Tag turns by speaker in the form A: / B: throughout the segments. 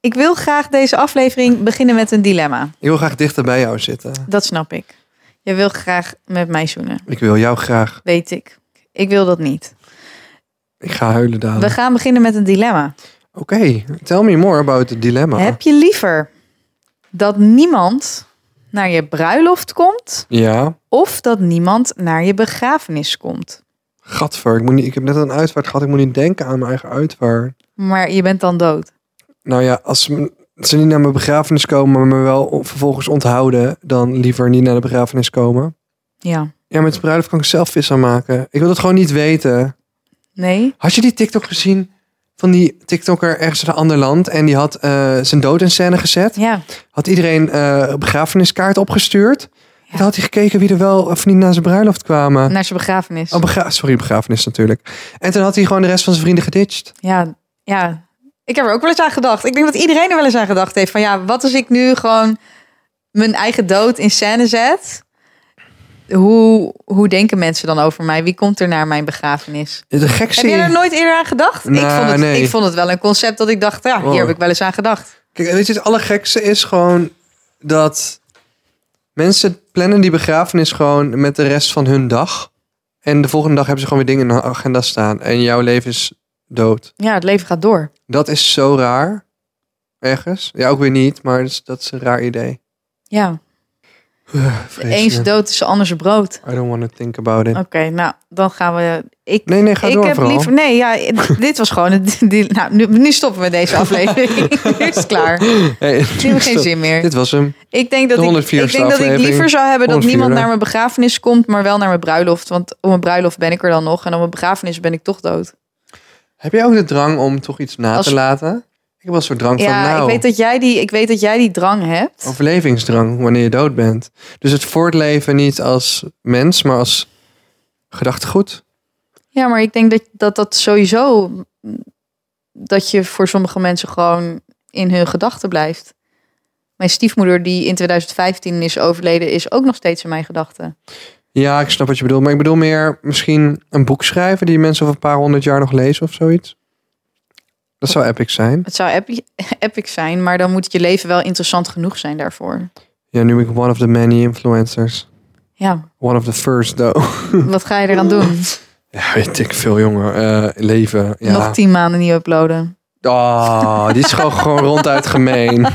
A: Ik wil graag deze aflevering beginnen met een dilemma.
B: Ik wil graag dichter bij jou zitten.
A: Dat snap ik. Je wil graag met mij zoenen.
B: Ik wil jou graag.
A: Weet ik. Ik wil dat niet.
B: Ik ga huilen
A: We
B: dadelijk.
A: gaan beginnen met een dilemma.
B: Oké, tell me more about the dilemma.
A: Heb je liever dat niemand naar je bruiloft komt
B: Ja,
A: of dat niemand naar je begrafenis komt?
B: gadver. Ik, moet niet, ik heb net een uitvaart gehad. Ik moet niet denken aan mijn eigen uitvaart.
A: Maar je bent dan dood.
B: Nou ja, als ze, m- ze niet naar mijn begrafenis komen, maar me wel o- vervolgens onthouden, dan liever niet naar de begrafenis komen.
A: Ja.
B: Ja, met de bruiloft kan ik zelf vis aan maken. Ik wil het gewoon niet weten.
A: Nee?
B: Had je die TikTok gezien van die TikToker ergens in een ander land en die had eh, zijn dood in scène gezet?
A: Ja.
B: Had iedereen eh, een begrafeniskaart opgestuurd? En
A: Ja.
B: Toen had hij gekeken wie er wel of niet naar zijn bruiloft kwamen.
A: Naar zijn begrafenis.
B: Oh, begra- sorry, begrafenis natuurlijk. En toen had hij gewoon de rest van zijn vrienden geditcht.
A: Ja, ja. Ik heb er ook wel eens aan gedacht. Ik denk dat iedereen er wel eens aan gedacht heeft. Van ja, wat als ik nu gewoon mijn eigen dood in scène zet? Hoe, hoe denken mensen dan over mij? Wie komt er naar mijn begrafenis?
B: De gekste.
A: Heb jij er nooit eerder aan gedacht? ik,
B: Nou,
A: vond het,
B: nee.
A: ik vond het wel een concept dat ik dacht, ja,
B: Oh.
A: hier heb ik wel eens aan gedacht.
B: Kijk, weet je, het allergekste is gewoon dat mensen plannen die begrafenis gewoon met de rest van hun dag. En de volgende dag hebben ze gewoon weer dingen in hun agenda staan. En jouw leven is dood.
A: Ja, het leven gaat door.
B: Dat is zo raar. Ergens. Ja, ook weer niet, maar dat is, dat is een raar idee.
A: Ja, de
B: Vreselijk.
A: eens dood is de ander zijn brood.
B: I don't want to think about it.
A: Oké, nou, dan gaan we... Ik,
B: Nee, nee, ga
A: ik
B: door
A: heb
B: vooral.
A: liever... Nee, ja, dit was gewoon... het- Die, nou, nu, nu stoppen we deze aflevering. Nu is het klaar.
B: Hey,
A: Nu heb ik geen
B: stop.
A: zin meer.
B: Dit was hem.
A: Ik denk dat,
B: De
A: ik,
B: 104ste
A: ik, denk dat ik
B: aflevering.
A: liever zou hebben dat
B: 104e.
A: niemand naar mijn begrafenis komt, maar wel naar mijn bruiloft. Want op mijn bruiloft ben ik er dan nog en op mijn begrafenis ben ik toch dood.
B: Heb jij ook de drang om toch iets na
A: Als-
B: te laten? Ik heb wel een soort drang
A: ja,
B: van, nou,
A: ik, weet dat jij die, ik weet dat jij die drang hebt.
B: overlevingsdrang wanneer je dood bent. Dus het voortleven niet als mens, maar als gedachtegoed.
A: Ja, maar ik denk dat, dat dat sowieso. dat je voor sommige mensen gewoon in hun gedachten blijft. Mijn stiefmoeder, die in 2015 is overleden, is ook nog steeds in mijn gedachten.
B: Ja, ik snap wat je bedoelt. Maar ik bedoel meer misschien een boek schrijven die mensen over een paar honderd jaar nog lezen of zoiets. Dat zou epic zijn.
A: Het zou epi- epic zijn, maar dan moet je leven wel interessant genoeg zijn daarvoor.
B: Ja, nu ben ik one of the many influencers.
A: Ja,
B: One of the first, though.
A: wat ga je eraan doen?
B: Ja, weet ik veel, jongen. Eh, leven, ja.
A: Nog tien maanden niet uploaden.
B: Oh, die is gewoon, gewoon ronduit gemeen.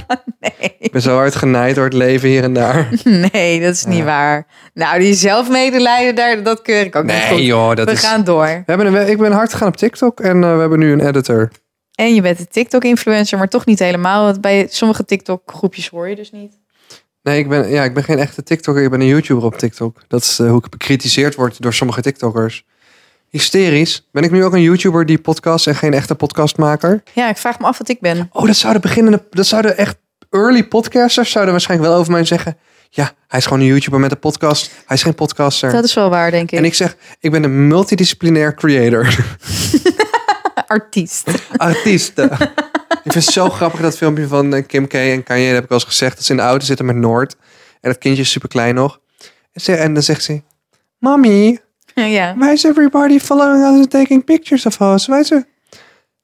B: Ik ben zo hard genaaid door het leven hier en daar.
A: Nee, dat is niet
B: Ja.
A: waar. Nou, die zelfmedelijden, daar, dat keur ik ook niet goed.
B: Nee, joh, dat
A: We
B: is...
A: gaan door.
B: We hebben een, ik ben hard gegaan op TikTok en eh, we hebben nu een editor.
A: En je bent een TikTok-influencer, maar toch niet helemaal. Want bij sommige TikTok-groepjes hoor je dus niet.
B: Nee, ik ben, ja, ik ben geen echte TikToker, ik ben een YouTuber op TikTok. Dat is eh, hoe ik bekritiseerd word door sommige TikTokkers. Hysterisch. Ben ik nu ook een YouTuber die podcast en geen echte podcastmaker?
A: Ja, ik vraag me af wat ik ben.
B: Oh, dat zouden beginnende, dat zouden echt early podcasters zouden waarschijnlijk wel over mij zeggen. Ja, hij is gewoon een YouTuber met een podcast. Hij is geen podcaster.
A: Dat is wel waar, denk ik.
B: En ik zeg, ik ben een multidisciplinair creator.
A: Artiest.
B: Artiesten. eh. ik vind het zo grappig dat filmpje van eh, Kim K en Kanye. Dat heb ik wel eens gezegd. Dat ze in de auto zitten met Noord. En dat kindje is super klein nog. En, ze, en dan zegt ze... Mommy,
A: ja.
B: why is everybody following us and taking pictures of us? Why is it...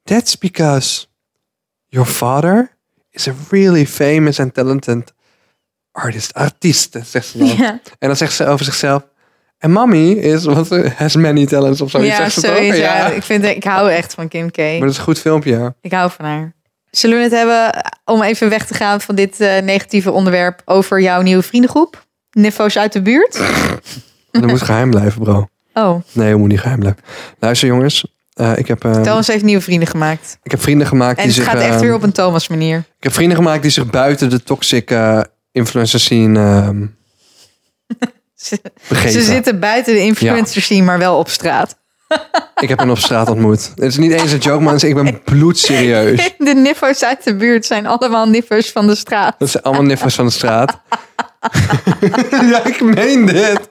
B: That's because your father is a really famous and talented artist. Artiest, zegt ze dan.
A: Ja,
B: En dan zegt ze over zichzelf... En mommy is, wat, has many talents of zo.
A: ja
B: zegt ze
A: sorry.
B: toch?
A: Ja. Ik, vind, ik hou echt van Kim K.
B: Maar dat is een goed filmpje, ja.
A: Ik hou van haar. Zullen we het hebben, om even weg te gaan van dit eh, negatieve onderwerp, over jouw nieuwe vriendengroep? Nifo's uit de buurt?
B: Dat moet geheim blijven, bro.
A: Oh,
B: Nee, we moet niet geheim blijven. Luister jongens, eh, ik, heb, eh,
A: Thomas heeft nieuwe vrienden gemaakt.
B: ik heb vrienden gemaakt
A: En
B: die
A: het
B: zich...
A: gaat echt
B: eh,
A: weer op een Thomas manier.
B: Ik heb vrienden gemaakt die zich buiten de toxic eh, influencer scene ehm,
A: Ze,
B: begeven.
A: ze zitten buiten de influencer scene, maar wel op straat.
B: Ik heb hen op straat ontmoet. Het is niet eens een joke, man. Ik ben bloedserieus.
A: De niffers uit de buurt zijn allemaal niffers van de straat.
B: Dat zijn allemaal niffers van de straat. ja, ik meen dit.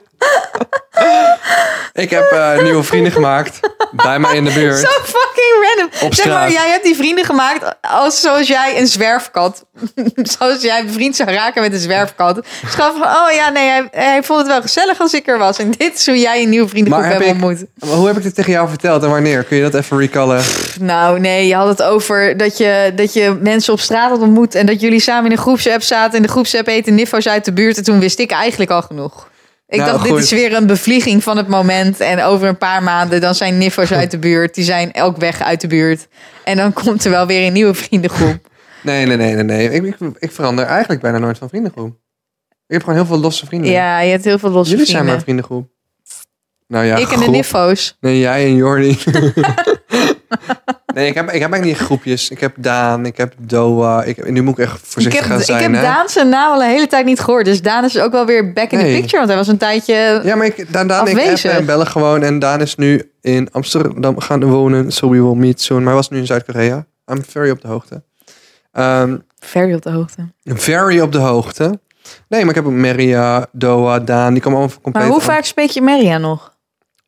B: Ik heb eh, nieuwe vrienden gemaakt. Bij mij in de buurt.
A: Zo fucking random.
B: Op
A: zeg maar,
B: straat.
A: jij hebt die vrienden gemaakt als, zoals jij een zwerfkat. zoals jij bevriend zou raken met een zwerfkat. Dus gewoon van, oh ja, nee, hij, hij vond het wel gezellig als ik er was. En dit is hoe jij een nieuwe vriendengroep
B: Maar heb
A: hebt
B: ik-
A: ontmoet.
B: Maar hoe heb ik dit tegen jou verteld en wanneer? Kun je dat even recallen?
A: Nou, nee, je had het over dat je, dat je mensen op straat had ontmoet... en dat jullie samen in een groepsapp zaten. In de groepsapp eten niffo's uit de buurt. En toen wist ik eigenlijk al genoeg. Ik
B: Nou,
A: dacht,
B: goed.
A: dit is weer een bevlieging van het moment. En over een paar maanden, dan zijn niffo's uit de buurt. Die zijn elk weg uit de buurt. En dan komt er wel weer een nieuwe vriendengroep.
B: Nee, nee, nee, nee. nee. Ik, ik, ik verander eigenlijk bijna nooit van vriendengroep. Ik heb gewoon heel veel losse vrienden.
A: Ja, je hebt heel veel losse
B: Jullie zijn
A: vrienden.
B: mijn vriendengroep. Nou ja,
A: ik en de
B: groep.
A: niffo's.
B: Nee, jij en Jordi. nee, ik heb, ik heb eigenlijk niet groepjes. Ik heb Daan, ik heb Doa. Ik, en nu moet ik echt
A: Ik
B: voorzichtig
A: heb,
B: gaan zijn.
A: ik heb
B: hè?
A: Daan zijn naam al een hele tijd niet gehoord. Dus Daan is ook wel weer back in
B: Nee.
A: the picture. Want hij was een tijdje...
B: Ja, maar ik, Daan, Daan ik appen
A: Afwezig.
B: en bellen gewoon. En Daan is nu in Amsterdam gaan wonen. So we will meet soon. Maar hij was nu in Zuid-Korea. I'm very op de hoogte. Ehm,
A: Very op de hoogte.
B: very op de hoogte. Nee, maar ik heb ook Maria, Doa, Daan. Die komen allemaal van compleet.
A: Maar hoe
B: aan-
A: vaak spreek je Maria nog?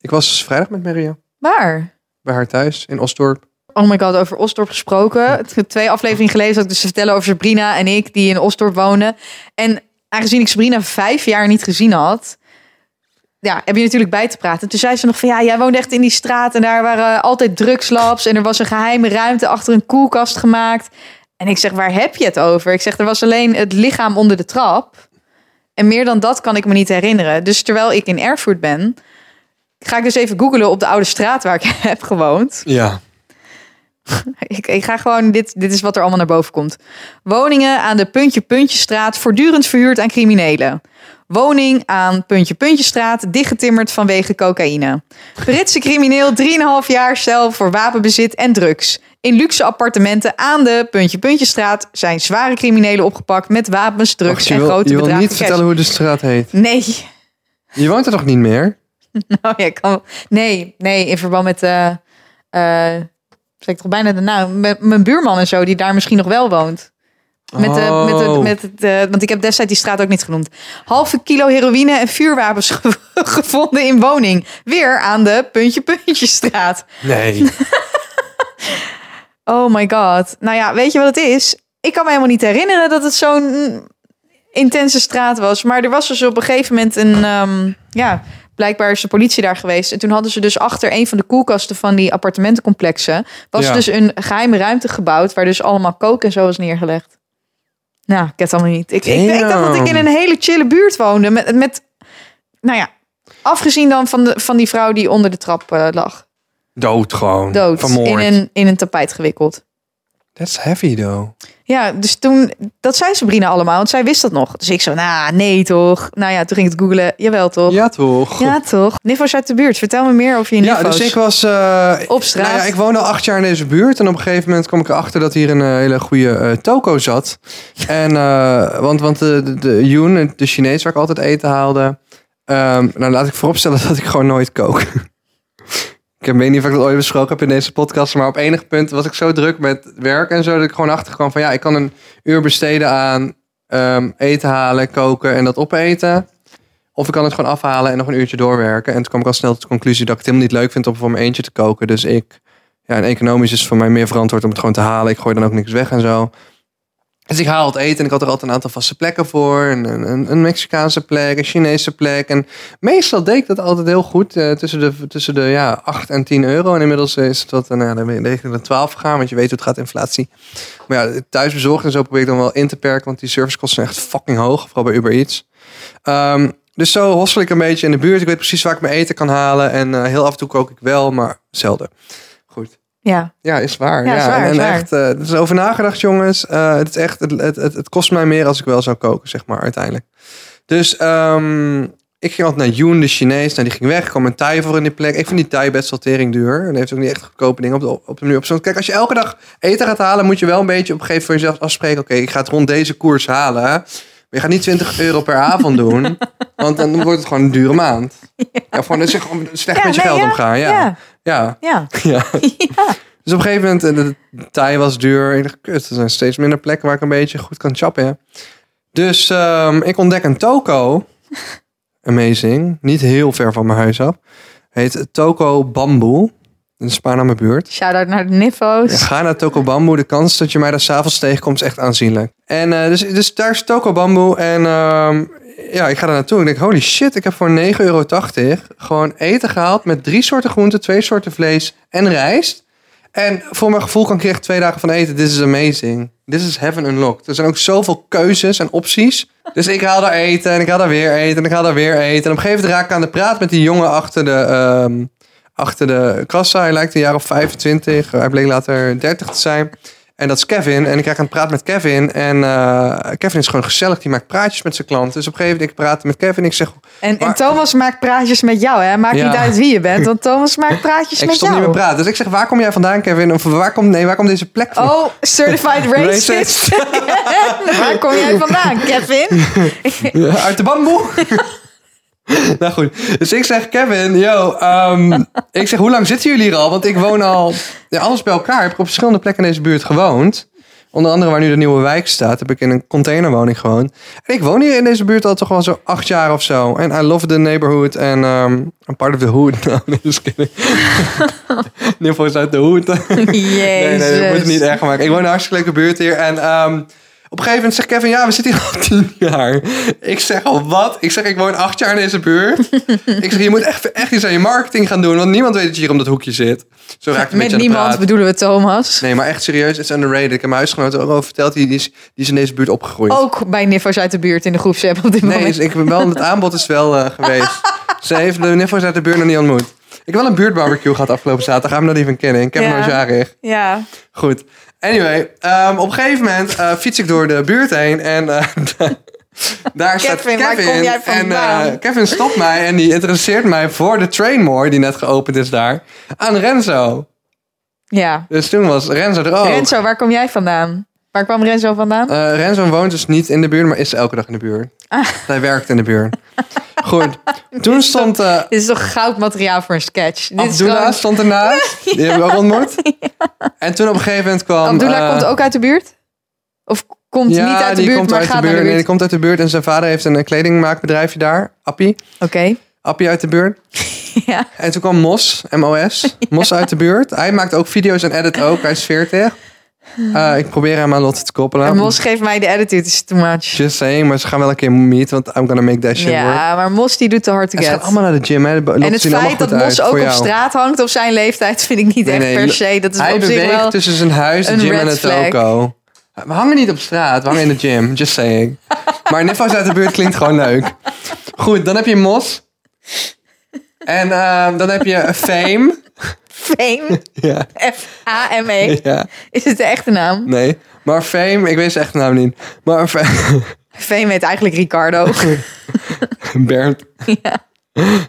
B: Ik was dus vrijdag met Maria.
A: Waar?
B: Bij haar thuis in Osdorp.
A: Oh my god, over Osdorp gesproken. Het- het Twee afleveringen geleden zat ik dus te vertellen over Sabrina en ik die in Osdorp wonen. En aangezien ik Sabrina vijf jaar niet gezien had, ja, heb je natuurlijk bij te praten. Toen zei ze nog van ja, jij woonde echt in die straat en daar waren altijd drugslabs en er was een geheime ruimte achter een koelkast gemaakt. En ik zeg, waar heb je het over? Ik zeg, er was alleen het lichaam onder de trap. En meer dan dat kan ik me niet herinneren. Dus terwijl ik in Erfurt ben, ga ik dus even googlen op de oude straat waar ik heb gewoond.
B: Ja.
A: Ik, ik ga gewoon, dit, dit is wat er allemaal naar boven komt. Woningen aan de Puntje Puntjestraat voortdurend verhuurd aan criminelen. Woning aan Puntje Puntjestraat dichtgetimmerd vanwege cocaïne. Britse crimineel 3,5 jaar cel voor wapenbezit en drugs. In luxe appartementen aan de Puntje Puntjestraat zijn zware criminelen opgepakt met wapens, drugs
B: Och, je
A: en
B: wil,
A: grote
B: je wil
A: bedragen
B: niet
A: cash.
B: vertellen hoe de straat heet.
A: Nee,
B: Je woont er toch niet meer?
A: nou ja, ik kan. Nee, nee, in verband met. eh eh, zeg ik toch bijna de naam. Met mijn buurman en zo, die daar misschien nog wel woont. Met de, met de,
B: Oh.
A: met het, eh, want ik heb destijds die straat ook niet genoemd. Halve kilo heroïne en vuurwapens ge- gevonden in woning. Weer aan de puntje puntje straat.
B: Nee.
A: Oh my god. Nou ja, weet je wat het is? Ik kan me helemaal niet herinneren dat het zo'n mm, intense straat was. Maar er was dus op een gegeven moment een... ehm, ja, blijkbaar is de politie daar geweest. En toen hadden ze dus achter een van de koelkasten van die appartementencomplexen... was
B: Ja.
A: dus een geheime ruimte gebouwd... waar dus allemaal kook en zo was neergelegd. Nou, ik heb het allemaal niet. Ik, ik, ik dacht dat ik in een hele chille buurt woonde. Met, met nou ja, afgezien dan van, de, van die vrouw die onder de trap eh, lag.
B: Dood gewoon.
A: Dood.
B: Vermoord.
A: In een, in een tapijt gewikkeld.
B: That's heavy though.
A: Ja, dus toen, dat zei Sabrina allemaal, want zij wist dat nog. Dus ik zo, nou, nee toch. Nou ja, toen ging ik het googlen. Jawel toch? Ja,
B: Ja toch?
A: toch? Niffos uit de buurt, vertel me meer over je
B: Ja,
A: niffos.
B: dus ik was... eh,
A: Op straat.
B: Nou ja, ik woonde al acht jaar in deze buurt. En op een gegeven moment kwam ik erachter dat hier een eh, hele goede eh, toko zat. En, eh, want, want de, de, de Yoon, de Chinees waar ik altijd eten haalde. ehm, nou, laat ik vooropstellen dat ik gewoon nooit kook. ik weet niet of ik dat ooit besproken heb in deze podcast. Maar op enig punt was ik zo druk met werk en zo. Dat ik gewoon achterkwam van ja, ik kan een uur besteden aan ehm, eten halen, koken en dat opeten. Of ik kan het gewoon afhalen en nog een uurtje doorwerken. En toen kwam ik al snel tot de conclusie dat ik het helemaal niet leuk vind om voor mijn eentje te koken. Dus ik, ja, en economisch is het voor mij meer verantwoord om het gewoon te halen. Ik gooi dan ook niks weg en zo. Dus ik haal het eten en ik had er altijd een aantal vaste plekken voor. Een, een, een Mexicaanse plek, een Chinese plek. En meestal deed ik dat altijd heel goed. eh, tussen de, tussen de ja, 8 en 10 euro. En inmiddels is het wat, eh, nou, dan ben je richting de 12 gegaan. Want je weet hoe het gaat, inflatie. Maar ja, thuisbezorgd en zo probeer ik dan wel in te perken. Want die servicekosten zijn echt fucking hoog. Vooral bij Uber Eats. Ehm, dus zo hostel ik een beetje in de buurt. Ik weet precies waar ik mijn eten kan halen. En eh, heel af en toe kook ik wel, maar zelden. Goed.
A: Ja,
B: Ja, is waar.
A: Ja,
B: Ja,
A: is waar,
B: en,
A: is
B: en
A: waar.
B: echt, eh, er is over nagedacht, jongens. Eh, het, is echt, het, het, het, het kost mij meer als ik wel zou koken, zeg maar, uiteindelijk. Dus ehm, ik ging altijd naar Yoon, de Chinees. Nou, die ging weg. Ik kwam een Thai voor in die plek. Ik vind die Thai best wel tering duur. En die heeft ook niet echt goedkope dingen op de, op de menu. Op zo'n- Kijk, als je elke dag eten gaat halen, moet je wel een beetje op een gegeven moment voor jezelf afspreken. Oké, ik ga het rond deze koers halen. hè. Maar je gaat niet 20 euro per avond doen. want dan wordt het gewoon een dure maand. Ja. gewoon, dat is gewoon slecht
A: Ja,
B: met je
A: nee,
B: geld
A: ja.
B: omgaan.
A: ja,
B: ja.
A: ja.
B: ja. Dus op een gegeven moment, eh, de de Thai was duur. Ik dacht, kut, er zijn steeds minder plekken waar ik een beetje goed kan chappen. hè. Dus ehm, ik ontdek een toko. amazing. Niet heel ver van mijn huis af. Heet Toko Bamboe. Dat is een paar naar mijn buurt.
A: Shout-out naar de Niffo's.
B: Ja, ga naar Toko Bamboe. De kans dat je mij daar s'avonds tegenkomt is echt aanzienlijk. En eh, dus, dus daar is Toko Bamboe. En ehm, ja, ik ga daar naartoe. Ik denk, holy shit, ik heb voor 9,80 euro gewoon eten gehaald met drie soorten groenten, twee soorten vlees en rijst. En voor mijn gevoel kan ik hier echt twee dagen van eten. This is amazing. This is heaven unlocked. Er zijn ook zoveel keuzes en opties. Dus ik haal daar eten en ik haal daar weer eten en ik haal daar weer eten. En op een gegeven moment raak ik aan de praat met die jongen achter de, ehm, achter de kassa. Hij lijkt een jaar of 25. Hij bleek later 30 te zijn. En dat is Kevin. En ik krijg aan het praten met Kevin. En eh, Kevin is gewoon gezellig. Die maakt praatjes met zijn klanten. Dus op een gegeven moment ik praat met Kevin. Ik zeg,
A: En, en
B: Maar-
A: Thomas maakt praatjes met jou, hè? Maakt
B: Ja.
A: niet uit wie je bent, want Thomas maakt praatjes
B: ik
A: met
B: stond
A: jou.
B: niet meer praten. Dus ik zeg, waar kom jij vandaan, Kevin? Of waar komt, nee, waar komt deze plek vandaan?
A: Oh, certified racist. Waar kom jij vandaan, Kevin?
B: Ja, Uit de bamboe. nou goed. Dus ik zeg, Kevin, yo. ehm, ik zeg, hoe lang zitten jullie hier al? Want ik woon al, ja, alles bij elkaar. Heb ik op verschillende plekken in deze buurt gewoond. Onder andere waar nu de nieuwe wijk staat, heb ik in een containerwoning gewoond. En ik woon hier in deze buurt al toch wel zo acht jaar of zo. En I love the neighborhood and ehm I'm part of the hood. Nou, nee, just kidding. Niffel is uit de hoed. Nee,
A: Jezus.
B: nee, dat moet het niet erg maken. Ik woon in een hartstikke leuke buurt hier. En ehm, op een gegeven moment zegt Kevin, ja, we zitten hier al tien jaar. Ik zeg al, wat? Ik zeg, ik woon acht jaar in deze buurt. ik zeg, je moet echt, echt iets aan je marketing gaan doen. Want niemand weet dat je hier om dat hoekje zit. Zo raak ik een
A: Met
B: beetje aan de praat.
A: niemand bedoelen we Thomas.
B: Nee, maar echt serieus, het is underrated. Ik heb mijn huisgenoot ook al verteld, die die is, die is in deze buurt opgegroeid.
A: Ook bij Niffo's uit de buurt in de groepsapp op dit
B: Nee,
A: moment.
B: is- ik ben wel, het aanbod is wel eh, geweest. Ze heeft de niffels uit de buurt nog niet ontmoet. Ik heb wel een buurtbarbecue gehad afgelopen zaterdag. Gaan we dat even kennen. Ik heb hem
A: Ja.
B: al jarig.
A: Ja.
B: Goed. Anyway, ehm, op een gegeven moment eh, fiets ik door de buurt heen en eh, daar staat
A: Kevin,
B: Kevin.
A: waar kom jij
B: en
A: vandaan?
B: eh, Kevin stopt mij en die interesseert mij voor de trainmoor die net geopend is daar aan Renzo.
A: ja.
B: Dus toen was Renzo er ook. Renzo,
A: Renzo, waar kom jij vandaan? Waar kwam Renzo vandaan?
B: Renzo woont dus niet in de buurt, maar is elke dag in de buurt.
A: Ah.
B: Hij werkt in de buurt. Goed. Toen stond eh,
A: Dit is toch goud materiaal voor een sketch? Dit is
B: Abdullah
A: gewoon-
B: stond ernaast. Die hebben we ook ontmoet. En toen op een gegeven moment kwam...
A: Abdullah
B: eh,
A: komt ook uit de buurt? Of komt niet uit de
B: die
A: buurt,
B: komt
A: maar
B: uit de
A: gaat naar de
B: Nee,
A: buurt?
B: die komt uit de buurt en zijn vader heeft een eh, kledingmaakbedrijfje daar. Appie.
A: Oké.
B: Appie uit de buurt.
A: Ja.
B: En toen kwam Mos, MOS. Mos uit de buurt. Hij maakt ook video's en edit ook. Hij is 40. Eh, ik probeer hem aan Lotte te koppelen.
A: En Mos geeft mij de attitude, is too much.
B: Just saying, maar ze gaan wel een keer meet, want I'm gonna make that shit work.
A: Ja, maar Mos die doet te hard to
B: En ze gaan
A: get.
B: allemaal naar de gym. Hè. Lotte
A: En het
B: zien allemaal
A: feit dat
B: goed
A: Mos
B: uit
A: ook
B: voor
A: op
B: jou.
A: straat hangt op zijn leeftijd vind ik niet
B: Nee,
A: echt
B: nee,
A: per se. Dat is
B: Hij
A: op zich
B: beweegt dus-
A: wel...
B: tussen zijn huis, de
A: een
B: gym en
A: red
B: het
A: flag.
B: toko. We hangen niet op straat, we hangen in de gym. Just saying. Maar Niffos uit de buurt klinkt gewoon leuk. Goed, dan heb je Mos. En ehm, dan heb je Fame.
A: Fame,
B: Ja,
A: F-A-M-E,
B: ja,
A: E. is het de echte naam?
B: nee. Maar Fame, ik weet zijn echte naam niet. Maar Fame...
A: Fame E heet eigenlijk Ricardo.
B: Bernd.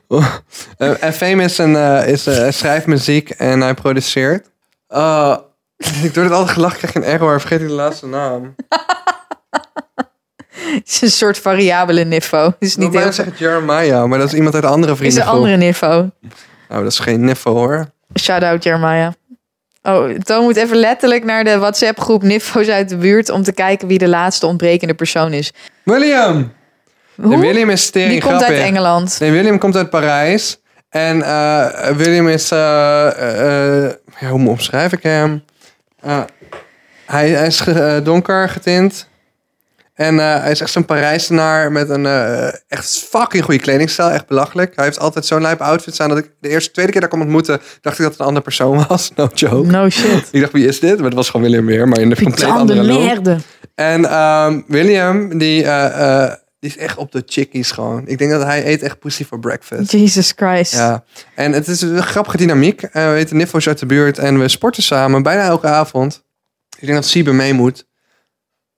B: Oh, eh, en Fame is een, eh, is, eh, hij schrijft muziek en hij produceert. Eh, ik doe het altijd gelach, krijg een error, vergeet ik de laatste naam.
A: Het is een soort variabele niffo. Dus niet
B: Ik wil
A: heel...
B: bijna zeggen Jeremiah, maar dat is iemand uit een andere
A: Is een
B: vriendengroep.
A: andere niffo.
B: Nou, dat is geen niffel hoor.
A: Shout-out Jeremiah. Oh, Toon moet even letterlijk naar de WhatsApp-groep Niffo's uit de buurt... om te kijken wie de laatste ontbrekende persoon is.
B: William!
A: Hoe?
B: Nee, William is tering
A: Die komt
B: grappig.
A: uit Engeland.
B: Nee, William komt uit Parijs. En eh, William is... eh, eh, eh, ja, hoe omschrijf ik hem? Eh, hij, hij is ge- eh, donker getint. En eh, hij is echt zo'n Parijsenaar met een eh, echt fucking goede kledingstijl. Echt belachelijk. Hij heeft altijd zo'n lijp outfit aan dat ik de eerste, tweede keer dat ik hem ontmoette... dacht ik dat het een andere persoon was. No joke.
A: No shit.
B: Ik dacht, wie is dit? Maar het was gewoon William weer, maar in de compleet
A: Putain de
B: andere look.
A: merde.
B: En ehm, William, die, eh, eh, die is echt op de chickies gewoon. Ik denk dat hij eet echt pussy for breakfast.
A: Jesus Christ.
B: Ja. En het is een grappige dynamiek. Eh, we heten Niffos uit de buurt en we sporten samen bijna elke avond. Ik denk dat Siebe mee moet.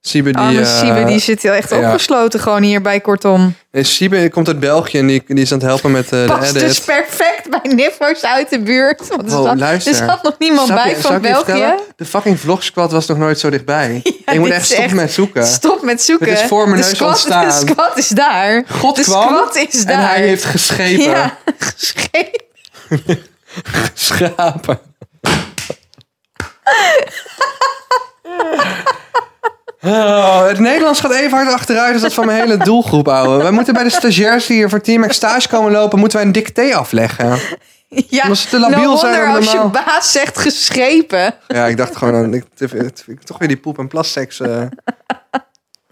B: Siebe die...
A: Arme
B: eh,
A: Siebe, die zit heel echt
B: ja.
A: opgesloten gewoon hierbij, kortom.
B: nee, Siebe komt uit België en die, die is aan het helpen met eh, de
A: Past
B: edit.
A: dus perfect bij Niffo's uit de buurt. Want er,
B: Wow,
A: zat, er
B: Oh, luister.
A: zat nog niemand
B: Snap je-
A: bij
B: zou
A: van
B: ik je
A: België.
B: vertellen? De fucking vlogsquad was nog nooit zo dichtbij. ik
A: dit
B: moet echt
A: is
B: stoppen
A: echt-
B: met zoeken.
A: Stop met zoeken.
B: Dit is voor mijn
A: de
B: neus
A: squad,
B: ontstaan.
A: De squad is daar.
B: God
A: de
B: kwam
A: squad is daar.
B: En hij heeft geschepen.
A: Ja, geschreven.
B: Schapen. Oh, het Nederlands gaat even hard achteruit als dat van mijn hele doelgroep, ouwe. Wij moeten bij de stagiairs die hier voor Team X stage komen lopen, moeten wij een dicté afleggen.
A: Ja,
B: Omdat ze te labiel
A: no
B: zijn
A: wonder
B: dan
A: als je
B: normaal.
A: baas zegt geschepen.
B: Ja, ik dacht gewoon, aan- ik, ik- ik- toch weer die poep- en plasseks. eh.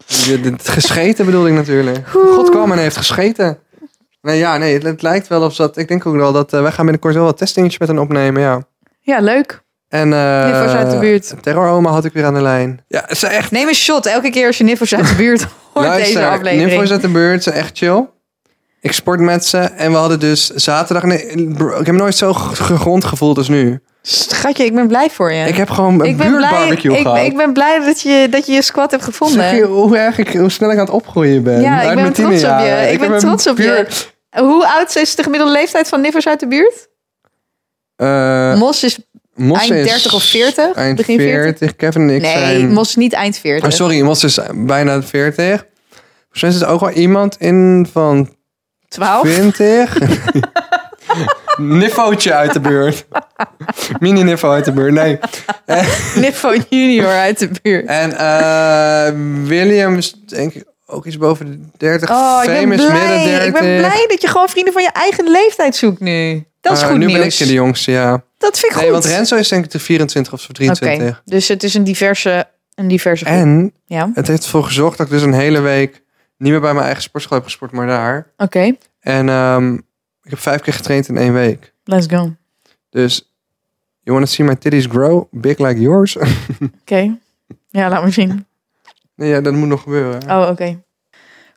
B: Je- Het gescheten bedoelde ik natuurlijk. God kwam en heeft gescheten. Nee, ja, nee, het, het lijkt wel of dat. Ik denk ook wel dat eh, wij gaan binnenkort wel wat testingetjes met hen opnemen, ja.
A: Ja, leuk.
B: En eh
A: Niffers uit de buurt.
B: Terroroma had ik weer aan de lijn. Ja, ze zijn echt
A: Neem een shot elke keer als je Niffers uit de buurt hoort deze aflevering.
B: Niffo is uit de buurt, ze zijn echt chill. Ik sport met ze en we hadden dus zaterdag... Nee, bro, ik heb nooit zo g- gegrond gevoeld als nu.
A: Schatje, ik ben blij voor je.
B: Ik heb gewoon een
A: Ik ben blij,
B: buurtbarbecue
A: ik,
B: gehad.
A: ik ben blij dat je, dat je je squat hebt
B: Zeg je
A: gevonden.
B: hoe, erg ik, hoe snel ik aan het opgroeien ben?
A: Ja, ik
B: Uit
A: ben
B: mijn
A: trots op je.
B: tienerjaren.
A: Ik ben
B: heb een
A: trots op je. Hoe oud is de gemiddelde leeftijd van Niffers uit de buurt?
B: Eh,
A: Mos is...
B: Mos
A: eind
B: is
A: 30 of 40?
B: Eind
A: Begin 40?
B: 40. Kevin en ik
A: nee,
B: zijn...
A: Mos is niet eind 40.
B: Oh, sorry, Mos is bijna 40. Volgens mij is er ook wel iemand in van
A: 12?
B: 20. Niffootje uit de buurt. Mini Niffo uit de buurt, nee.
A: Niffo junior uit de buurt.
B: En eh William is denk ik ook iets boven de 30.
A: Oh, ik ben
B: Famous midden
A: blij.
B: 30.
A: Ik ben blij dat je gewoon vrienden van je eigen leeftijd zoekt nu. Dat is
B: Eh,
A: goed
B: nu ben ik
A: nieuws.
B: de jongste, ja.
A: Dat vind ik
B: Nee,
A: goed.
B: want Renzo is denk ik de 24 of zo
A: Oké,
B: 23.
A: dus het is een diverse, een diverse groep.
B: En
A: Ja, oké.
B: het heeft ervoor gezorgd dat ik dus een hele week niet meer bij mijn eigen sportschool heb gesport, maar daar. En ehm, ik heb vijf keer getraind in één week.
A: Let's go. Oké.
B: Dus, you want to see my titties grow? Big like yours?
A: Ja, laat maar zien.
B: nee, ja, dat moet nog gebeuren.
A: Oh, oké.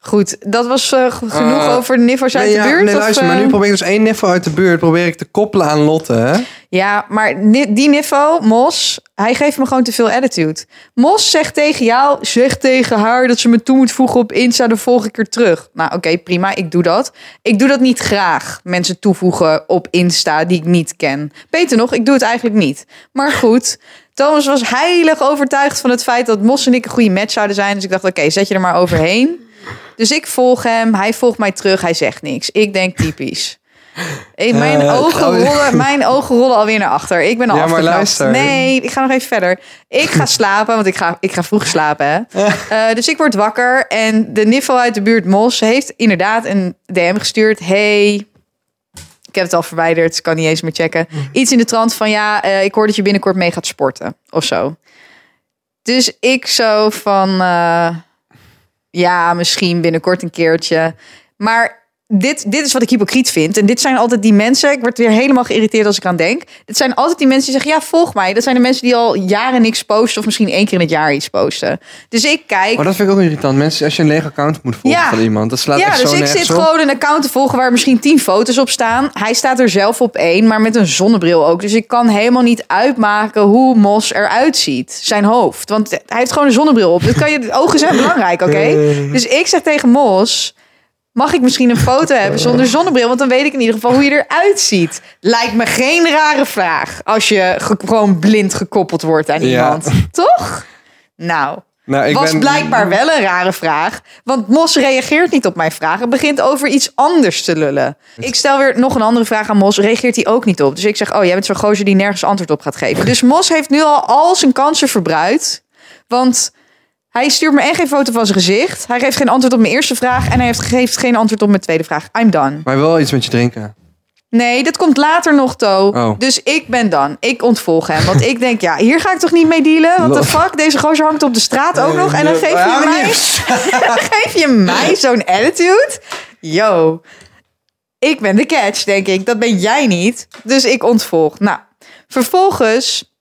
A: Goed, dat was eh, g- genoeg
B: Eh,
A: over niffers uit
B: nee,
A: de
B: ja,
A: buurt?
B: nee,
A: of,
B: luister, maar
A: eh,
B: nu probeer ik dus één niffel uit de buurt probeer ik te koppelen aan Lotte. Hè?
A: Ja, maar ni- die niffo, Mos, hij geeft me gewoon te veel attitude. Mos zegt tegen jou, zeg tegen haar dat ze me toe moet voegen op Insta de volgende keer terug. Nou oké, prima, ik doe dat. Ik doe dat niet graag, mensen toevoegen op Insta die ik niet ken. Beter nog, ik doe het eigenlijk niet. Maar goed, Thomas was heilig overtuigd van het feit dat Mos en ik een goede match zouden zijn. Dus ik dacht, oké, zet je er maar overheen. Dus ik volg hem, hij volgt mij terug, hij zegt niks. Ik denk typisch. Ik- mijn,
B: Eh,
A: ogen
B: trouwens-
A: rollen, mijn ogen rollen alweer naar achter. Ik ben al
B: Ja, maar
A: afgeknapt.
B: luister.
A: Nee, ik ga nog even verder. Ik ga slapen, want ik ga, ik ga vroeg slapen. Hè? Eh, dus ik word wakker en de niffel uit de buurt Mos heeft inderdaad een DM gestuurd. Hey, ik heb het al verwijderd, kan niet eens meer checken.
B: Mm.
A: Iets in de trant van ja, eh, ik hoor dat je binnenkort mee gaat sporten of zo. Dus ik zo van eh, ja, misschien binnenkort een keertje. Maar dit, dit is wat ik hypocriet vind. En dit zijn altijd die mensen. Ik word weer helemaal geïrriteerd als ik aan denk. Dit zijn altijd die mensen die zeggen: ja, volg mij. Dat zijn de mensen die al jaren niks posten. Of misschien één keer in het jaar iets posten. Dus ik kijk.
B: Maar dat vind ik ook irritant. Mensen, als je een leeg account moet volgen
A: Ja.
B: van iemand, dat slaat
A: Ja,
B: echt
A: dus
B: zo
A: ik
B: nergens
A: zit
B: op.
A: gewoon een account te volgen waar misschien tien foto's op staan. Hij staat er zelf op één, maar met een zonnebril ook. Dus ik kan helemaal niet uitmaken hoe Mos eruit ziet. Zijn hoofd. Want hij heeft gewoon een zonnebril op. Dat kan je, ogen zijn belangrijk, oké?
B: Eh.
A: Dus ik zeg tegen Mos... Mag ik misschien een foto hebben zonder zonnebril? Want dan weet ik in ieder geval hoe je eruit ziet. Lijkt me geen rare vraag als je ge- gewoon blind gekoppeld wordt aan
B: Ja.
A: iemand. Toch? Nou,
B: Nou, ik
A: was
B: ben-
A: blijkbaar wel een rare vraag. Want Mos reageert niet op mijn vraag. en begint over iets anders te lullen. Ik stel weer nog een andere vraag aan Mos. Reageert hij ook niet op. Dus ik zeg, oh, jij bent zo'n gozer die nergens antwoord op gaat geven. Dus Mos heeft nu al al zijn kansen verbruikt. Want hij stuurt me en geen foto van zijn gezicht. Hij geeft geen antwoord op mijn eerste vraag. En hij heeft, geeft geen antwoord op mijn tweede vraag. I'm done.
B: Maar wel iets met je drinken.
A: Nee, dat komt later nog, To.
B: Oh.
A: Dus ik ben dan. Ik ontvolg hem. Want ik denk, ja, hier ga ik toch niet mee dealen? What the
B: Lol.
A: fuck? Deze gozer hangt op de straat ook nog. En dan
B: Eh,
A: geef
B: ja,
A: je
B: maar
A: mij,
B: niet.
A: dan geef je mij zo'n attitude? Yo. Ik ben de catch, denk ik. Dat ben jij niet. Dus ik ontvolg. Nou, vervolgens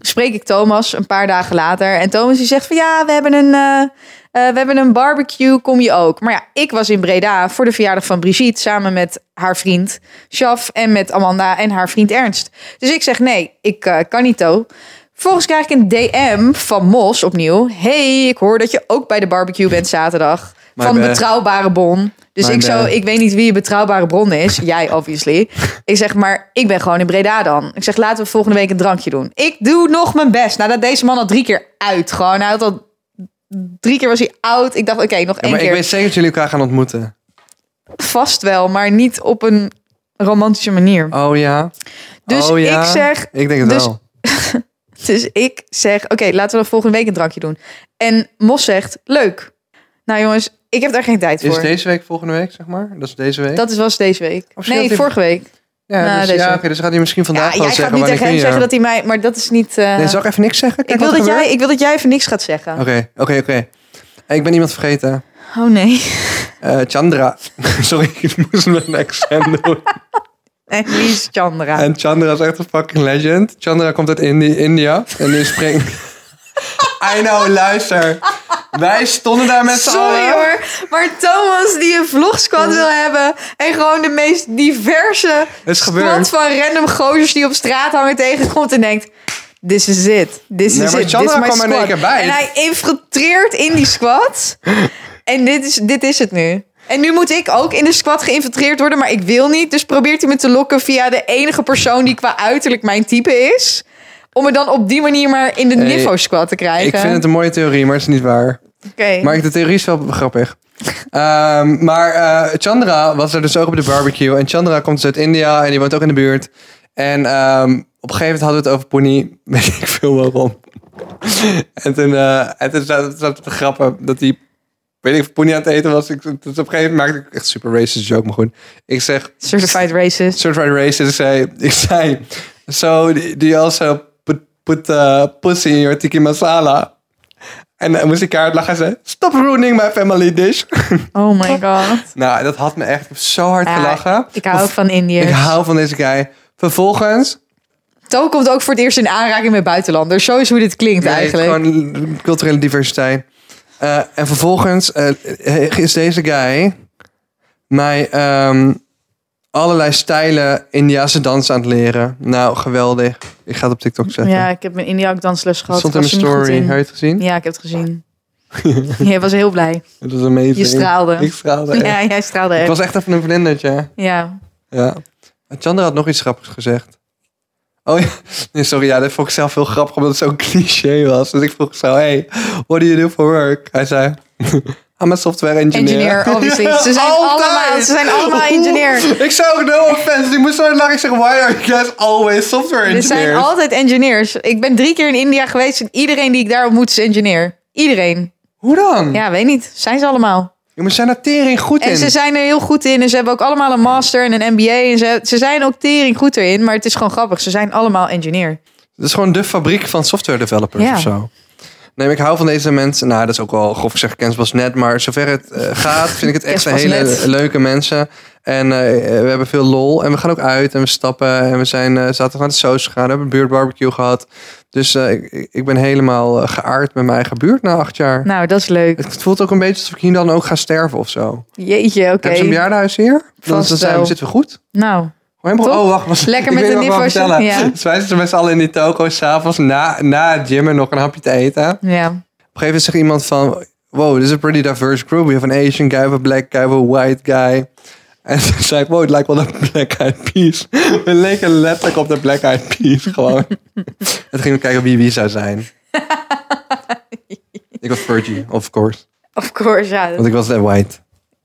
A: spreek ik Thomas een paar dagen later. En Thomas die zegt van ja, we hebben een, eh, eh, we hebben een barbecue, kom je ook? Maar ja, ik was in Breda voor de verjaardag van Brigitte samen met haar vriend Shaf en met Amanda en haar vriend Ernst. Dus ik zeg nee, ik eh, kan niet toe. Vervolgens krijg ik een DM van Mos opnieuw. Hey, ik hoor dat je ook bij de barbecue bent zaterdag.
B: My
A: van
B: bad.
A: betrouwbare bron. Dus
B: My
A: ik zo,
B: bad.
A: ik weet niet wie je betrouwbare bron is. Jij, obviously. Ik zeg, maar ik ben gewoon in Breda dan. Ik zeg, laten we volgende week een drankje doen. Ik doe nog mijn best. Nadat deze man al drie keer uit. Gewoon, hij had al... Drie keer was hij oud. Ik dacht, oké, nog
B: Ja,
A: één
B: maar
A: keer.
B: ik weet zeker dat jullie elkaar gaan ontmoeten.
A: Vast wel, maar niet op een romantische manier.
B: Oh ja.
A: Dus
B: Oh,
A: ik
B: ja.
A: zeg,
B: Ik denk het
A: dus-
B: wel.
A: Dus ik zeg, oké, laten we volgende week een drankje doen. En Mos zegt, leuk. Nou jongens, ik heb daar geen tijd
B: Is
A: voor.
B: deze week volgende week, zeg maar? Dat is deze week?
A: Dat is was deze week.
B: Of
A: nee,
B: scheelt die-
A: vorige week.
B: ja,
A: nou,
B: dus,
A: deze
B: ja
A: week.
B: oké, dus gaat hij misschien
A: Ja,
B: vandaag
A: jij
B: wel
A: gaat
B: zeggen
A: niet
B: wanneer
A: tegen hem
B: kun je-
A: zeggen dat hij mij... Maar dat is niet... eh,
B: Nee, zal ik even niks zeggen?
A: ik,
B: Kijk
A: wil
B: wat er
A: dat jij,
B: gebeurt.
A: ik wil dat jij even niks gaat zeggen.
B: Oké, oké, oké. Eh, Ik ben iemand vergeten.
A: Oh nee.
B: Eh, Chandra. Sorry, ik moest met een accent doen.
A: En wie is Chandra?
B: En Chandra is echt een fucking legend. Chandra komt uit Indi- India. En die springt... I know, luister. Wij stonden daar met z'n
A: Sorry
B: allen.
A: hoor, maar Thomas die een vlogsquad wil hebben en gewoon de meest diverse
B: Het is gebeurd.
A: squad van random gozers die op straat hangen tegenkomt en denkt, this is it, this
B: Nee,
A: is
B: maar
A: it, this
B: Chandra
A: is my
B: kwam er in één
A: squad.
B: keer bij.
A: En hij infiltreert in die squad en dit is, dit is het nu. En nu moet ik ook in de squad geïnfiltreerd worden, maar ik wil niet. Dus probeert hij me te lokken via de enige persoon die qua uiterlijk mijn type is. Om me dan op die manier maar in de
B: Hey,
A: Niffo-squad te krijgen.
B: Ik vind het een mooie theorie, maar het is niet waar.
A: Oké.
B: Maar de theorie is wel grappig. Ehm, maar eh, Chandra was er dus ook op de barbecue. En Chandra komt dus uit India en die woont ook in de buurt. En ehm, op een gegeven moment hadden we het over Pony. Weet ik veel waarom. en toen, eh en toen zaten zaten we te grappen dat die... Weet ik of Pony aan het eten was. Ik, dus op een gegeven moment maakte ik echt super racist joke, maar goed. Ik zeg,
A: Certified racist.
B: certified racist. Ik zei, ik zei so do you also put, put uh, pussy in your tiki masala? En dan moest ik kaart lachen en zei, stop ruining my family dish.
A: Oh my god.
B: nou, dat had me echt, ik heb zo hard
A: Ja,
B: gelachen.
A: Ik hou ook van
B: Ik
A: Indiërs.
B: hou van deze guy. Vervolgens,
A: To komt ook voor het eerst in aanraking met buitenlanders. Zo is hoe dit klinkt
B: nee,
A: eigenlijk.
B: gewoon culturele diversiteit. Eh, en vervolgens eh, is deze guy mij ehm, allerlei stijlen Indiaanse dans aan het leren. Nou, geweldig. Ik ga het op TikTok zetten.
A: Ja, ik heb mijn India ook dansles
B: Dat
A: gehad.
B: stond in
A: Ik
B: mijn
A: was er niet
B: story. Heb
A: goed
B: je
A: in.
B: het gezien?
A: Ja, ik heb het gezien. Jij was heel blij.
B: Dat was amazing.
A: Je straalde.
B: Ik straalde. echt.
A: Ja, jij straalde
B: Ik
A: echt.
B: was echt even een vlindertje.
A: Ja.
B: Ja. En Chandra had nog iets grappigs gezegd. Oh ja. Nee, sorry. Ja, dat vond ik zelf heel grappig omdat het zo'n cliché was. Dus ik vroeg zo, hey, what do you do for work? Hij zei, I'm a software engineer.
A: Engineer, obviously.
B: Ja,
A: Ze zijn
B: altijd.
A: allemaal- ze zijn allemaal engineer.
B: Ik zou no offense. Ik moest zo lang zeggen, why are you guys always software
A: Er
B: engineers?
A: zijn altijd engineers. Ik ben drie keer in India geweest en iedereen die ik daar ontmoet is engineer. Iedereen.
B: Hoe dan?
A: Ja, weet niet. Zijn ze allemaal.
B: Je moet zijn daar tering goed
A: En
B: in.
A: ze zijn er heel goed in. En ze hebben ook allemaal een master en een MBA. En ze, ze zijn ook tering goed erin. Maar het is gewoon grappig. Ze zijn allemaal engineer.
B: Dat is gewoon de fabriek van software developers
A: Ja.
B: of zo. Nee, maar ik hou van deze mensen. Nou, dat is ook wel grof gezegd. Kens was net. Maar zover het eh, gaat, vind ik het echt
A: Kens
B: een
A: was
B: hele
A: net.
B: leuke mensen. En eh, we hebben veel lol. En we gaan ook uit en we stappen. En we zijn eh, zaterdag naar de Soos gegaan. We hebben een buurtbarbecue gehad. Dus eh, ik, ik ben helemaal eh, geaard met mijn eigen buurt na acht jaar.
A: Nou, dat is leuk.
B: Het voelt ook een beetje alsof ik hier dan ook ga sterven of zo. Heb
A: Jeetje, oké.
B: Hebben ze een bejaardenhuis hier? Dan,
A: Vast
B: dan zijn we,
A: wel.
B: zitten we goed.
A: Nou,
B: Gewoon helemaal-
A: Toch?
B: Oh, wacht. Was,
A: Lekker
B: ik
A: met
B: weet
A: de
B: nog wat ik
A: nippers,
B: wil vertellen.
A: ja.
B: Dus wij zitten met z'n allen in die toko s'avonds na, na het gym en nog een hapje te eten. Op een
A: ja.
B: gegeven moment zegt iemand van... Wow, this is a pretty diverse group. We have an Asian guy, we have a black guy, we have a white guy. En toen zei ik, wow, het lijkt wel een Black Eyed Peas. We leken letterlijk op de Black Eyed Peas gewoon. en toen gingen we kijken wie wie zou zijn. ik was Fergie, of course.
A: Of course, ja.
B: Want ik was net white.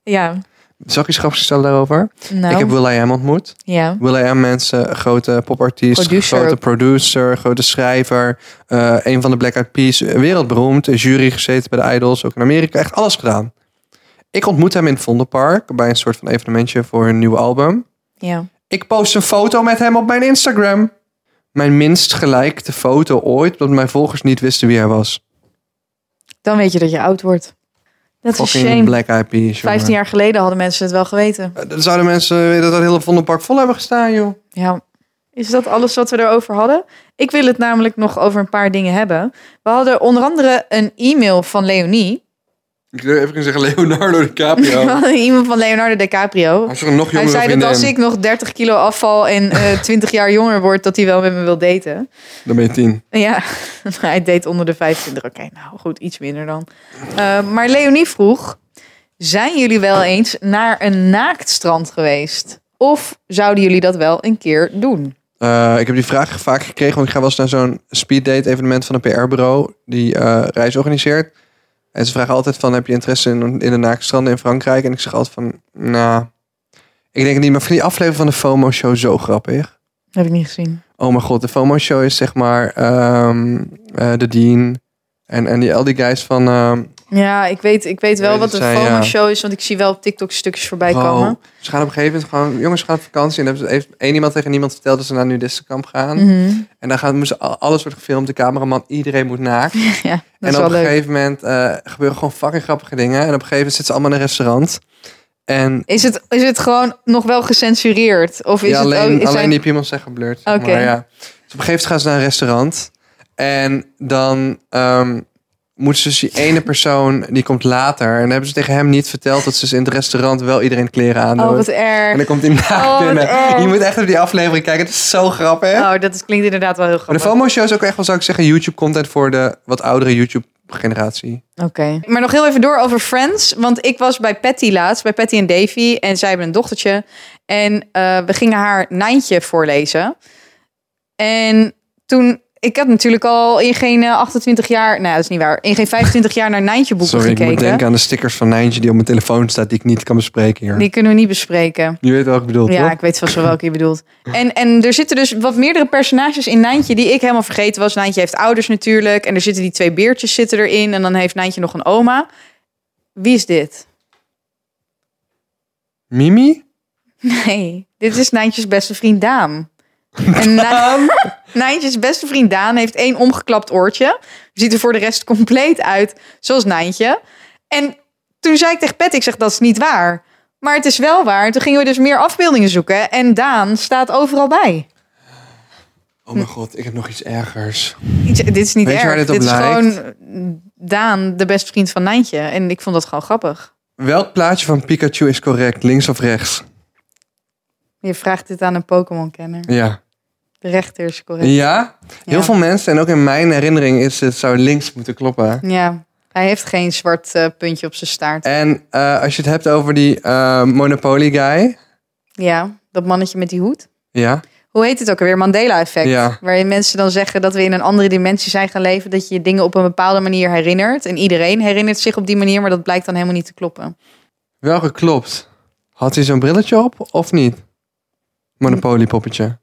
A: Ja,
B: Zal ik iets grappigs vertellen daarover?
A: nou.
B: Ik heb Will.i.am ontmoet.
A: ja.
B: Will.i.am mensen, grote popartiest,
A: Producer
B: grote
A: ook.
B: producer, grote schrijver. eh, een van de Black Eyed Peas, eh, wereldberoemd. eh, Jury gezeten bij de Idols, ook in Amerika. Echt alles gedaan. Ik ontmoet hem in het Vondelpark bij een soort van evenementje voor hun nieuwe album.
A: ja.
B: Ik post een foto met hem op mijn Instagram. Mijn minst gelikte foto ooit, omdat mijn volgers niet wisten wie hij was.
A: Dan weet je dat je oud wordt. Dat is
B: Fucking
A: shame.
B: Black Eyed Peas, jongen.
A: 15 jaar geleden hadden mensen het wel geweten.
B: Eh, dan Zouden mensen weten dat dat hele Vondelpark vol hebben gestaan, joh?
A: Ja. Is dat alles wat we erover hadden? Ik wil het namelijk nog over een paar dingen hebben. We hadden onder andere een e-mail van Leonie.
B: Ik wil even zeggen Leonardo
A: We
B: DiCaprio.
A: hadden een e-mail van Leonardo DiCaprio.
B: Als er een nog
A: Hij zei dat als ik nog 30 kilo afval en eh 20 jaar jonger word, dat hij wel met me wil daten.
B: dan ben je tien.
A: Ja, hij deed onder de 25. Oké, nou goed, iets minder dan. Eh, maar Leonie vroeg: Zijn jullie wel eens naar een naaktstrand geweest? Of zouden jullie dat wel een keer doen?
B: Eh, ik heb die vraag vaak gekregen, want ik ga wel eens naar zo'n speeddate evenement van een PR-bureau die eh, reis organiseert. En ze vragen altijd van, heb je interesse in, in de naaktstranden in Frankrijk? En ik zeg altijd van, nou, ik denk het niet. Maar ik vind die aflevering van de FOMO-show zo grappig.
A: Heb ik niet gezien.
B: oh mijn god, de FOMO-show is zeg maar ehm, eh, de Dean en, en die, al die guys van... ehm,
A: Ja, ik weet, ik weet wel
B: Weet
A: wat
B: het
A: een
B: zijn, ja.
A: FOMO-show is, want ik zie wel op TikTok stukjes voorbij
B: Bro,
A: komen.
B: Ze gaan op een gegeven moment gewoon, jongens, ze gaan op vakantie. En dan hebben ze- heeft één iemand tegen niemand verteld dat ze naar Nudissenkamp gaan.
A: Mhm.
B: En dan gaan, moesten al- alles wordt gefilmd, de cameraman, iedereen moet naakt.
A: Ja, dat
B: en
A: is
B: op
A: wel
B: een
A: leuk.
B: gegeven moment eh, gebeuren gewoon fucking grappige dingen. En op een gegeven moment zitten ze allemaal in een restaurant. En
A: Is het, is het gewoon nog wel gecensureerd? Of is
B: ja,
A: het
B: alleen,
A: oh, is
B: alleen
A: zijn-
B: die piemels zijn geblurred. zeg
A: Oké.
B: Maar, ja. Dus op een gegeven moment gaan ze naar een restaurant. En dan ehm moeten ze dus die ene persoon, die komt later. En dan hebben ze tegen hem niet verteld dat ze dus in het restaurant wel iedereen kleren aandoen.
A: Oh, wat
B: En
A: erg.
B: dan komt hij naakt
A: Oh, wat
B: binnen.
A: erg.
B: Je moet echt op die aflevering kijken. Het is zo grappig.
A: Oh, dat is- klinkt inderdaad wel heel
B: maar de
A: grappig.
B: FOMO-show is ook echt wel, zou ik zeggen, YouTube-content voor de wat oudere YouTube-generatie.
A: Oké. Maar nog heel even door over Friends. Want ik was bij Patty laatst, bij Patty en Davy. En zij hebben een dochtertje. En eh, we gingen haar Nijntje voorlezen. En toen... Ik heb natuurlijk al in geen eh, 28 jaar... Nou, dat is niet waar. In geen 25 jaar naar Nijntje boeken
B: Sorry, ik
A: gekeken.
B: moet denken aan de stickers van Nijntje die op mijn telefoon staat, die ik niet kan bespreken hier.
A: Die kunnen we niet bespreken.
B: Je weet wat ik bedoel,
A: Ja,
B: toch?
A: ik weet vast wel welke je bedoelt. En, en er zitten dus wat meerdere personages in Nijntje die ik helemaal vergeten was. Nijntje heeft ouders natuurlijk. En er zitten die twee beertjes zitten erin. En dan heeft Nijntje nog een oma. Wie is dit?
B: Mimi?
A: Nee, dit is Nijntjes beste vriend Daan. En Nij- Nijntjes beste vriend Daan heeft één omgeklapt oortje. Ziet er voor de rest compleet uit zoals Nijntje. En toen zei ik tegen Pet, ik zeg dat is niet waar. Maar het is wel waar. Toen gingen we dus meer afbeeldingen zoeken. En Daan staat overal bij.
B: Oh mijn god, ik heb nog iets ergers.
A: Iets- dit is niet
B: Weet je
A: erg.
B: waar dit op
A: dit is
B: lijkt?
A: gewoon eh, Daan, de beste vriend van Nijntje. En ik vond dat gewoon grappig.
B: Welk plaatje van Pikachu is correct, links of rechts?
A: Je vraagt dit aan een Pokémon-kenner.
B: Ja.
A: De rechter is correct.
B: Ja? Heel
A: Ja.
B: veel mensen, en ook in mijn herinnering, is het zou links moeten kloppen.
A: Ja, hij heeft geen zwart eh, puntje op zijn staart.
B: En eh, als je het hebt over die eh, Monopoly guy.
A: Ja, dat mannetje met die hoed.
B: Ja.
A: Hoe heet het ook alweer? Mandela-effect.
B: Ja.
A: Waarin mensen dan zeggen dat we in een andere dimensie zijn gaan leven. Dat je je dingen op een bepaalde manier herinnert. En iedereen herinnert zich op die manier, maar dat blijkt dan helemaal niet te kloppen.
B: Welke klopt? Had hij zo'n brilletje op of niet? Monopoly poppetje.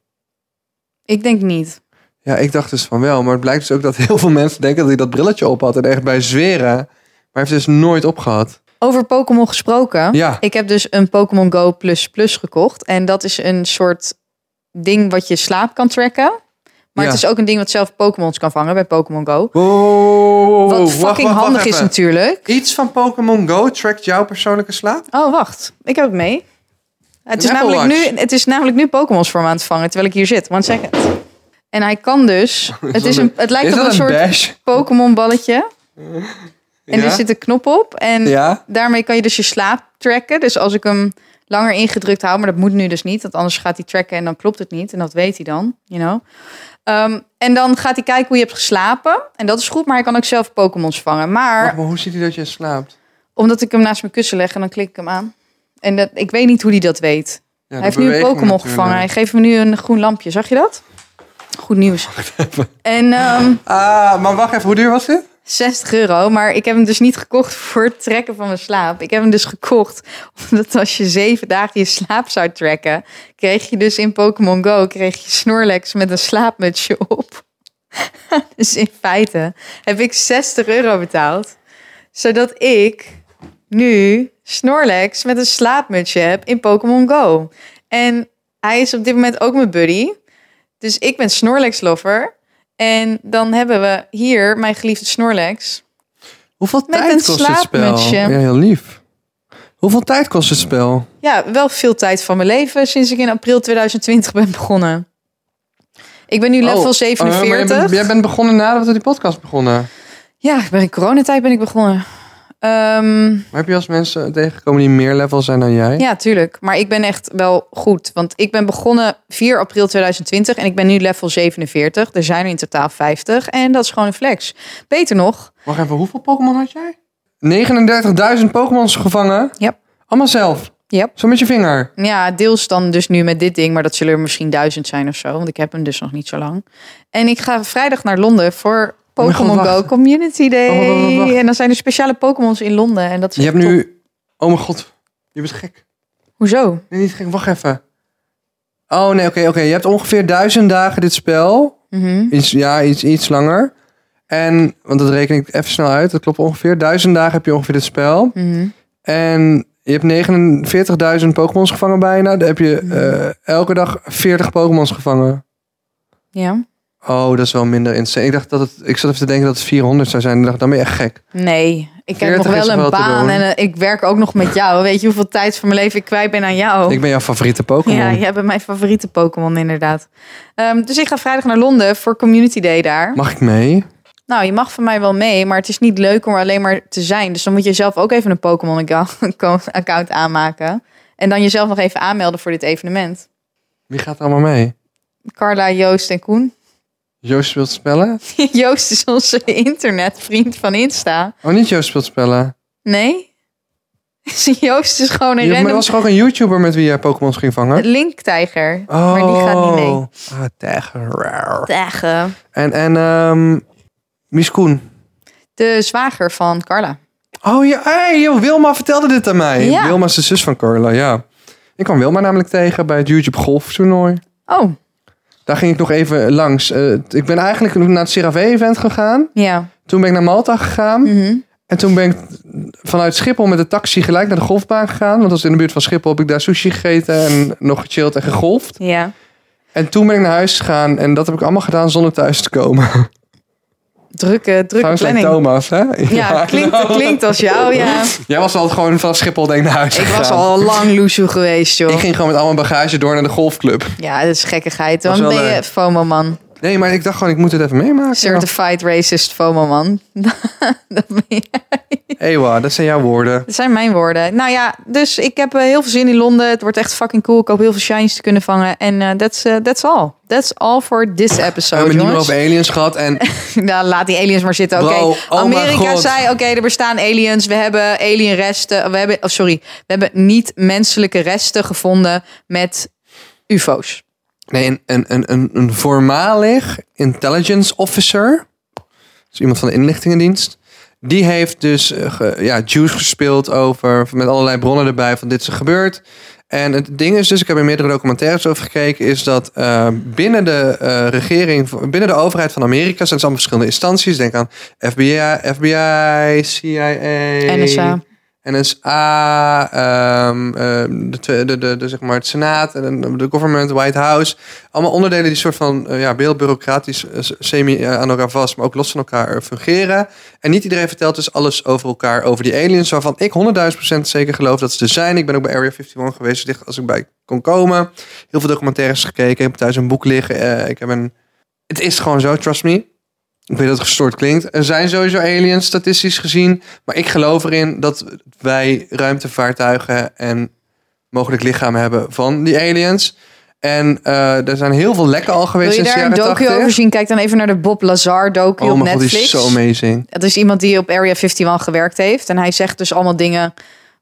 A: Ik denk niet.
B: Ja, ik dacht dus van wel, maar het blijkt dus ook dat heel veel mensen denken dat hij dat brilletje op had en echt bij zweren. Maar hij heeft het dus nooit op gehad.
A: Over Pokémon gesproken.
B: Ja,
A: Ik heb dus een Pokémon Go Plus Plus gekocht. En dat is een soort ding wat je slaap kan tracken. Maar
B: Ja.
A: het is ook een ding wat zelf Pokémons kan vangen bij Pokémon Go.
B: Wow, wow, wow, wow,
A: Wat fucking
B: wow, wacht, wacht, wacht
A: handig is
B: even.
A: natuurlijk.
B: Iets van Pokémon Go trackt jouw persoonlijke slaap?
A: Oh, wacht. Ik heb het mee. Het is,
B: Apple
A: namelijk
B: Watch.
A: nu, het is namelijk nu Pokémons voor me aan het vangen, terwijl ik hier zit. Want zeg het. En hij kan dus... Het, is een, het lijkt
B: is
A: op
B: dat
A: een soort
B: bash?
A: Pokémon balletje. En
B: ja?
A: er zit een knop op. En
B: ja?
A: daarmee kan je dus je slaap tracken. Dus als ik hem langer ingedrukt hou, maar dat moet nu dus niet, want anders gaat hij tracken en dan klopt het niet. En dat weet hij dan, you know. Ehm, en dan gaat hij kijken hoe je hebt geslapen. En dat is goed, maar hij kan ook zelf Pokémons vangen.
B: Wacht,
A: Maar
B: maar hoe ziet hij dat je slaapt?
A: omdat ik hem naast mijn kussen leg en dan klik ik hem aan. En dat, ik weet niet hoe hij dat weet.
B: Ja,
A: hij
B: de
A: heeft nu een
B: beweging
A: Pokémon
B: natuurlijk.
A: gevangen. Hij geeft me nu een groen lampje. Zag je dat? Goed nieuws. En ehm,
B: Ah, maar wacht even, hoe duur was dit?
A: 60 euro, maar ik heb hem dus niet gekocht voor het trekken van mijn slaap. Ik heb hem dus gekocht omdat als je zeven dagen je slaap zou trekken, kreeg je dus in Pokémon Go kreeg je Snorlax met een slaapmutsje op. dus in feite heb ik 60 euro betaald, zodat ik nu Snorlax met een slaapmutsje heb in Pokémon Go. En hij is op dit moment ook mijn buddy. Dus ik ben Snorlax lover. En dan hebben we hier mijn geliefde Snorlax.
B: Hoeveel
A: Met
B: tijd
A: een
B: kost het spel?
A: slaapmutsje.
B: Ja, heel lief. Hoeveel tijd kost het spel?
A: Ja, wel veel tijd van mijn leven sinds ik in april 2020 ben begonnen. Ik ben nu level
B: Oh, Oh, maar jij
A: 47.
B: bent- jij bent begonnen nadat we die podcast begonnen.
A: Ja, ik ben in coronatijd ben ik begonnen. Ehm,
B: Maar heb je als mensen tegengekomen die meer level zijn dan jij?
A: ja, tuurlijk. Maar ik ben echt wel goed. Want ik ben begonnen 4 april 2020 en ik ben nu level 47. Er zijn er in totaal 50. En dat is gewoon een flex. Beter nog,
B: Wacht even, hoeveel Pokémon had jij? 39.000 Pokémons gevangen?
A: Ja.
B: Allemaal zelf?
A: Ja.
B: Zo met je vinger?
A: Ja, deels dan dus nu met dit ding, maar dat zullen er misschien duizend zijn of zo, want ik heb hem dus nog niet zo lang. En ik ga vrijdag naar Londen voor
B: mijn god,
A: Pokémon Go
B: Oh, wacht.
A: Community Day.
B: Oh, wacht, wacht, wacht.
A: En dan zijn er speciale Pokémons in Londen en dat is
B: Je hebt
A: echt top.
B: nu... Oh mijn god, je bent gek.
A: Hoezo?
B: Nee, niet gek, wacht even. Oh nee, oké, oké. Je hebt ongeveer duizend dagen dit spel.
A: Mhm.
B: Iets, ja, iets, iets langer. En, want dat reken ik even snel uit, dat klopt ongeveer. Duizend dagen heb je ongeveer dit spel.
A: Mhm.
B: En je hebt 49.000 Pokémons gevangen bijna. Dan heb je
A: Mhm.
B: eh, elke dag 40 Pokémons gevangen.
A: Ja.
B: Oh, dat is wel minder insane. Ik dacht dat het, ik zat even te denken dat het 400 zou zijn. Ik dacht, dan ben je echt gek.
A: Nee, ik heb
B: 40
A: nog
B: is
A: wel een
B: wel te
A: baan
B: doen.
A: en eh, ik werk ook nog met jou. Weet je hoeveel tijd van mijn leven ik kwijt ben aan jou?
B: Ik ben jouw favoriete Pokémon.
A: Oh. ja, jij bent mijn favoriete Pokémon inderdaad. Ehm, dus ik ga vrijdag naar Londen voor Community Day daar.
B: Mag ik mee?
A: Nou, je mag van mij wel mee, maar het is niet leuk om er alleen maar te zijn. Dus dan moet je zelf ook even een Pokémon-account aanmaken. En dan jezelf nog even aanmelden voor dit evenement.
B: Wie gaat er allemaal mee?
A: Carla, Joost en Koen.
B: Joost speelt spellen?
A: Joost is onze internetvriend van Insta.
B: Oh, niet Joost speelt spellen.
A: Nee? Joost is gewoon een
B: Je, maar er
A: random
B: was toch ook een YouTuber met wie jij Pokémons ging vangen?
A: linktijger.
B: Oh.
A: Maar die gaat niet mee.
B: Ah, tegen. Raar.
A: Tegen.
B: En, en, ehm Mies Koen.
A: De zwager van Carla.
B: Oh ja, hey, joh, Wilma vertelde dit aan mij.
A: Ja.
B: Wilma is de zus van Carla, ja. Ik kwam Wilma namelijk tegen bij het YouTube Golf toernooi.
A: Oh,
B: Daar ging ik nog even langs. Eh, ik ben eigenlijk naar het CeraVe-event gegaan.
A: ja.
B: Toen ben ik naar Malta gegaan.
A: Mhm.
B: En toen ben ik vanuit Schiphol met de taxi gelijk naar de golfbaan gegaan. Want dat was in de buurt van Schiphol. Heb ik daar sushi gegeten en nog gechilled en gegolfd.
A: Ja.
B: En toen ben ik naar huis gegaan. En dat heb ik allemaal gedaan zonder thuis te komen.
A: Drukke, drukke
B: Trouwens, like
A: planning.
B: Thomas, hè?
A: Ja, klinkt,
B: nou.
A: klinkt als jou, ja.
B: Jij was al gewoon van Schiphol denk ik naar huis
A: Ik was
B: gegaan.
A: al lang loesje geweest, joh.
B: Ik ging gewoon met al mijn bagage door naar de golfclub.
A: Ja, dat is gekkigheid.
B: Dat
A: Dan
B: is
A: ben
B: wel
A: je
B: leuk.
A: FOMO-man.
B: Nee, maar ik dacht gewoon, ik moet het even meemaken.
A: Certified racist FOMO-man. dat, ben je.
B: Ewa, dat zijn jouw woorden.
A: dat zijn mijn woorden. Nou ja, dus ik heb eh, heel veel zin in Londen. Het wordt echt fucking cool. Ik hoop heel veel shines te kunnen vangen. En eh, that's, eh, that's all. That's all for this
B: We
A: episode,
B: hebben het niet meer
A: jongens.
B: over aliens gehad. En
A: Nou, laat die aliens maar zitten. Oké,
B: Bro, oh mijn
A: Amerika
B: God.
A: zei, oké, er bestaan aliens. We hebben alienresten. We hebben, oh, sorry, we hebben niet menselijke resten gevonden met ufo's.
B: Nee, een, een, een, een, een voormalig intelligence officer. Dus iemand van de inlichtingendienst. Die heeft dus eh, ge- ja, juice gespeeld over, met allerlei bronnen erbij van dit is er gebeurd. En het ding is dus, ik heb er meerdere documentaires over gekeken, is dat eh, binnen de eh, regering, binnen de overheid van Amerika zijn het allemaal verschillende instanties. Denk aan FBI, FBI, CIA,
A: NSA.
B: NSA, ehm, ehm, de, twe- de, de, de, zeg maar het Senaat, en de- de government, White House. Allemaal onderdelen die soort van eh, ja, heel bureaucratisch eh, semi eh, aan elkaar vast, maar ook los van elkaar eh, fungeren. En niet iedereen vertelt dus alles over elkaar, over die aliens, waarvan ik 100.000% zeker geloof dat ze er zijn. Ik ben ook bij Area 51 geweest, dus dicht als ik bij kon komen. Heel veel documentaires gekeken, ik heb thuis een boek liggen. eh, ik heb een... Het is gewoon zo, trust me. Ik weet dat het gestoord klinkt. Er zijn sowieso aliens, statistisch gezien. Maar ik geloof erin dat wij ruimtevaartuigen en mogelijk lichamen hebben van die aliens. En eh, er zijn heel veel lekken al
A: Wil
B: geweest
A: je
B: sinds de
A: daar een
B: jaren
A: docu
B: 80.
A: over zien? Kijk dan even naar de Bob Lazar docu
B: oh
A: op
B: mijn god, die is
A: Netflix.
B: zo amazing.
A: Dat is iemand die op Area 51 gewerkt heeft. En hij zegt dus allemaal dingen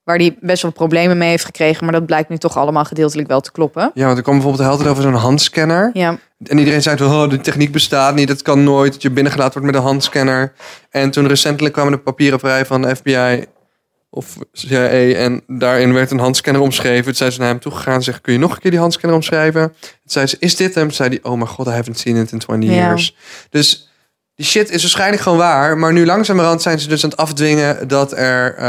A: waar hij best wel problemen mee heeft gekregen. Maar dat blijkt nu toch allemaal gedeeltelijk wel te kloppen.
B: Ja, want er kwam bijvoorbeeld altijd over zo'n handscanner.
A: Ja,
B: En iedereen zei, toen, oh, de techniek bestaat niet, dat kan nooit, dat je binnengelaten wordt met een handscanner. En toen recentelijk kwamen de papieren vrij van de FBI of CIA en daarin werd een handscanner omschreven. Toen zijn ze naar hem toegegaan en zeggen, kun je nog een keer die handscanner omschrijven? Toen zei ze, is dit hem? Toen zei hij, oh mijn god, I haven't seen it in 20
A: Ja.
B: years. Dus die shit is waarschijnlijk gewoon waar, maar nu langzamerhand zijn ze dus aan het afdwingen dat er, eh,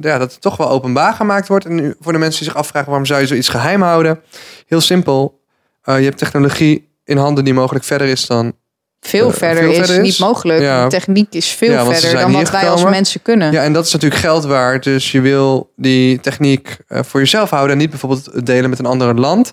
B: ja, dat het toch wel openbaar gemaakt wordt. En nu, voor de mensen die zich afvragen, waarom zou je zoiets geheim houden? Heel simpel, eh, je hebt technologie in handen die mogelijk verder is dan.
A: veel
B: Eh,
A: verder,
B: veel
A: is,
B: verder is?
A: niet mogelijk.
B: Ja.
A: De techniek is veel
B: Ja, want ze
A: verder
B: zijn
A: dan wat
B: hier
A: wij als
B: gekomen.
A: mensen kunnen.
B: Ja, en dat is natuurlijk geld waard. Dus je wil die techniek eh, voor jezelf houden en niet bijvoorbeeld delen met een ander land.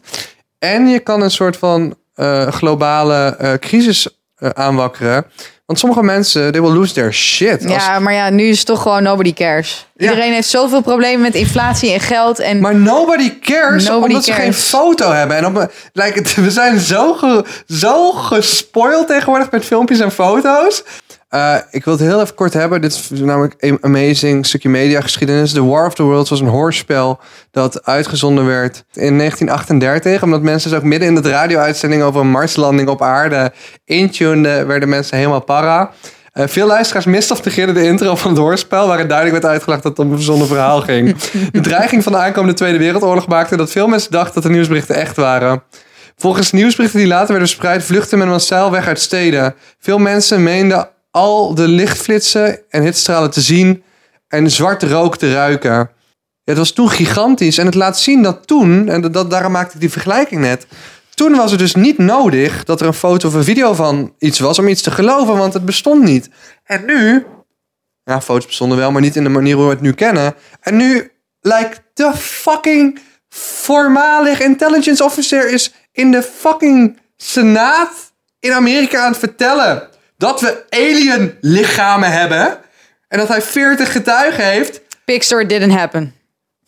B: En je kan een soort van eh, globale eh, crisis eh, aanwakkeren. Want sommige mensen, they will lose their shit. Als-
A: Ja, maar ja, nu is het toch gewoon nobody cares.
B: Ja.
A: Iedereen heeft zoveel problemen met inflatie en geld. En
B: Maar nobody cares
A: Nobody
B: omdat ze
A: cares.
B: geen foto hebben. En op, een- like, het- we zijn zo, ge, zo gespoild tegenwoordig met filmpjes en foto's. Eh, ik wil het heel even kort hebben. Dit is namelijk een amazing stukje mediageschiedenis. The War of the Worlds was een hoorspel dat uitgezonden werd in 1938. Omdat mensen dus ook midden in de radio-uitzending over een marslanding op aarde intuneden, werden mensen helemaal para. Eh, veel luisteraars misten of negeerden de intro van het hoorspel, waarin duidelijk werd uitgelegd dat het om een verzonnen verhaal ging. De dreiging van de aankomende Tweede Wereldoorlog maakte dat veel mensen dachten dat de nieuwsberichten echt waren. Volgens nieuwsberichten die later werden verspreid, vluchtte men massaal weg uit steden. Veel mensen meenden al de lichtflitsen en hitstralen te zien en zwart rook te ruiken. Ja, het was toen gigantisch en het laat zien dat toen, en dat, dat- daarom maakte ik die vergelijking net, toen was het dus niet nodig dat er een foto of een video van iets was om iets te geloven, want het bestond niet. En nu, ja, foto's bestonden wel, maar niet in de manier hoe we het nu kennen. En nu lijkt de fucking voormalig intelligence officer is in de fucking senaat in Amerika aan het vertellen dat we alien lichamen hebben en dat hij 40 getuigen heeft.
A: Pixar didn't happen.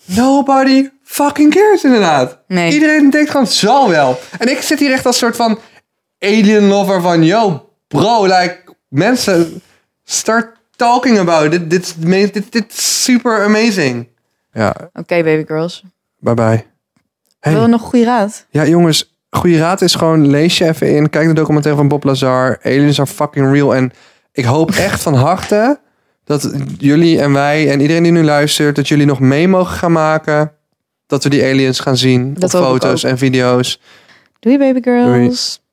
B: Nobody fucking cares inderdaad.
A: Nee.
B: Iedereen denkt gewoon, zal wel. En ik zit hier echt als soort van alien lover van, yo bro, like, mensen, start talking about it. Dit, dit, is me- dit, dit is super amazing. Ja,
A: Oké, baby girls.
B: bye bye. Hey.
A: Wil je nog een goede raad?
B: Ja, jongens, goede raad is gewoon lees je even in. Kijk de documentaire van Bob Lazar. Aliens are fucking real. En ik hoop echt van harte dat jullie en wij en iedereen die nu luistert, dat jullie nog mee mogen gaan maken. Dat we die aliens gaan zien
A: Dat
B: op
A: hoop ik
B: foto's en video's.
A: Doei, baby girls.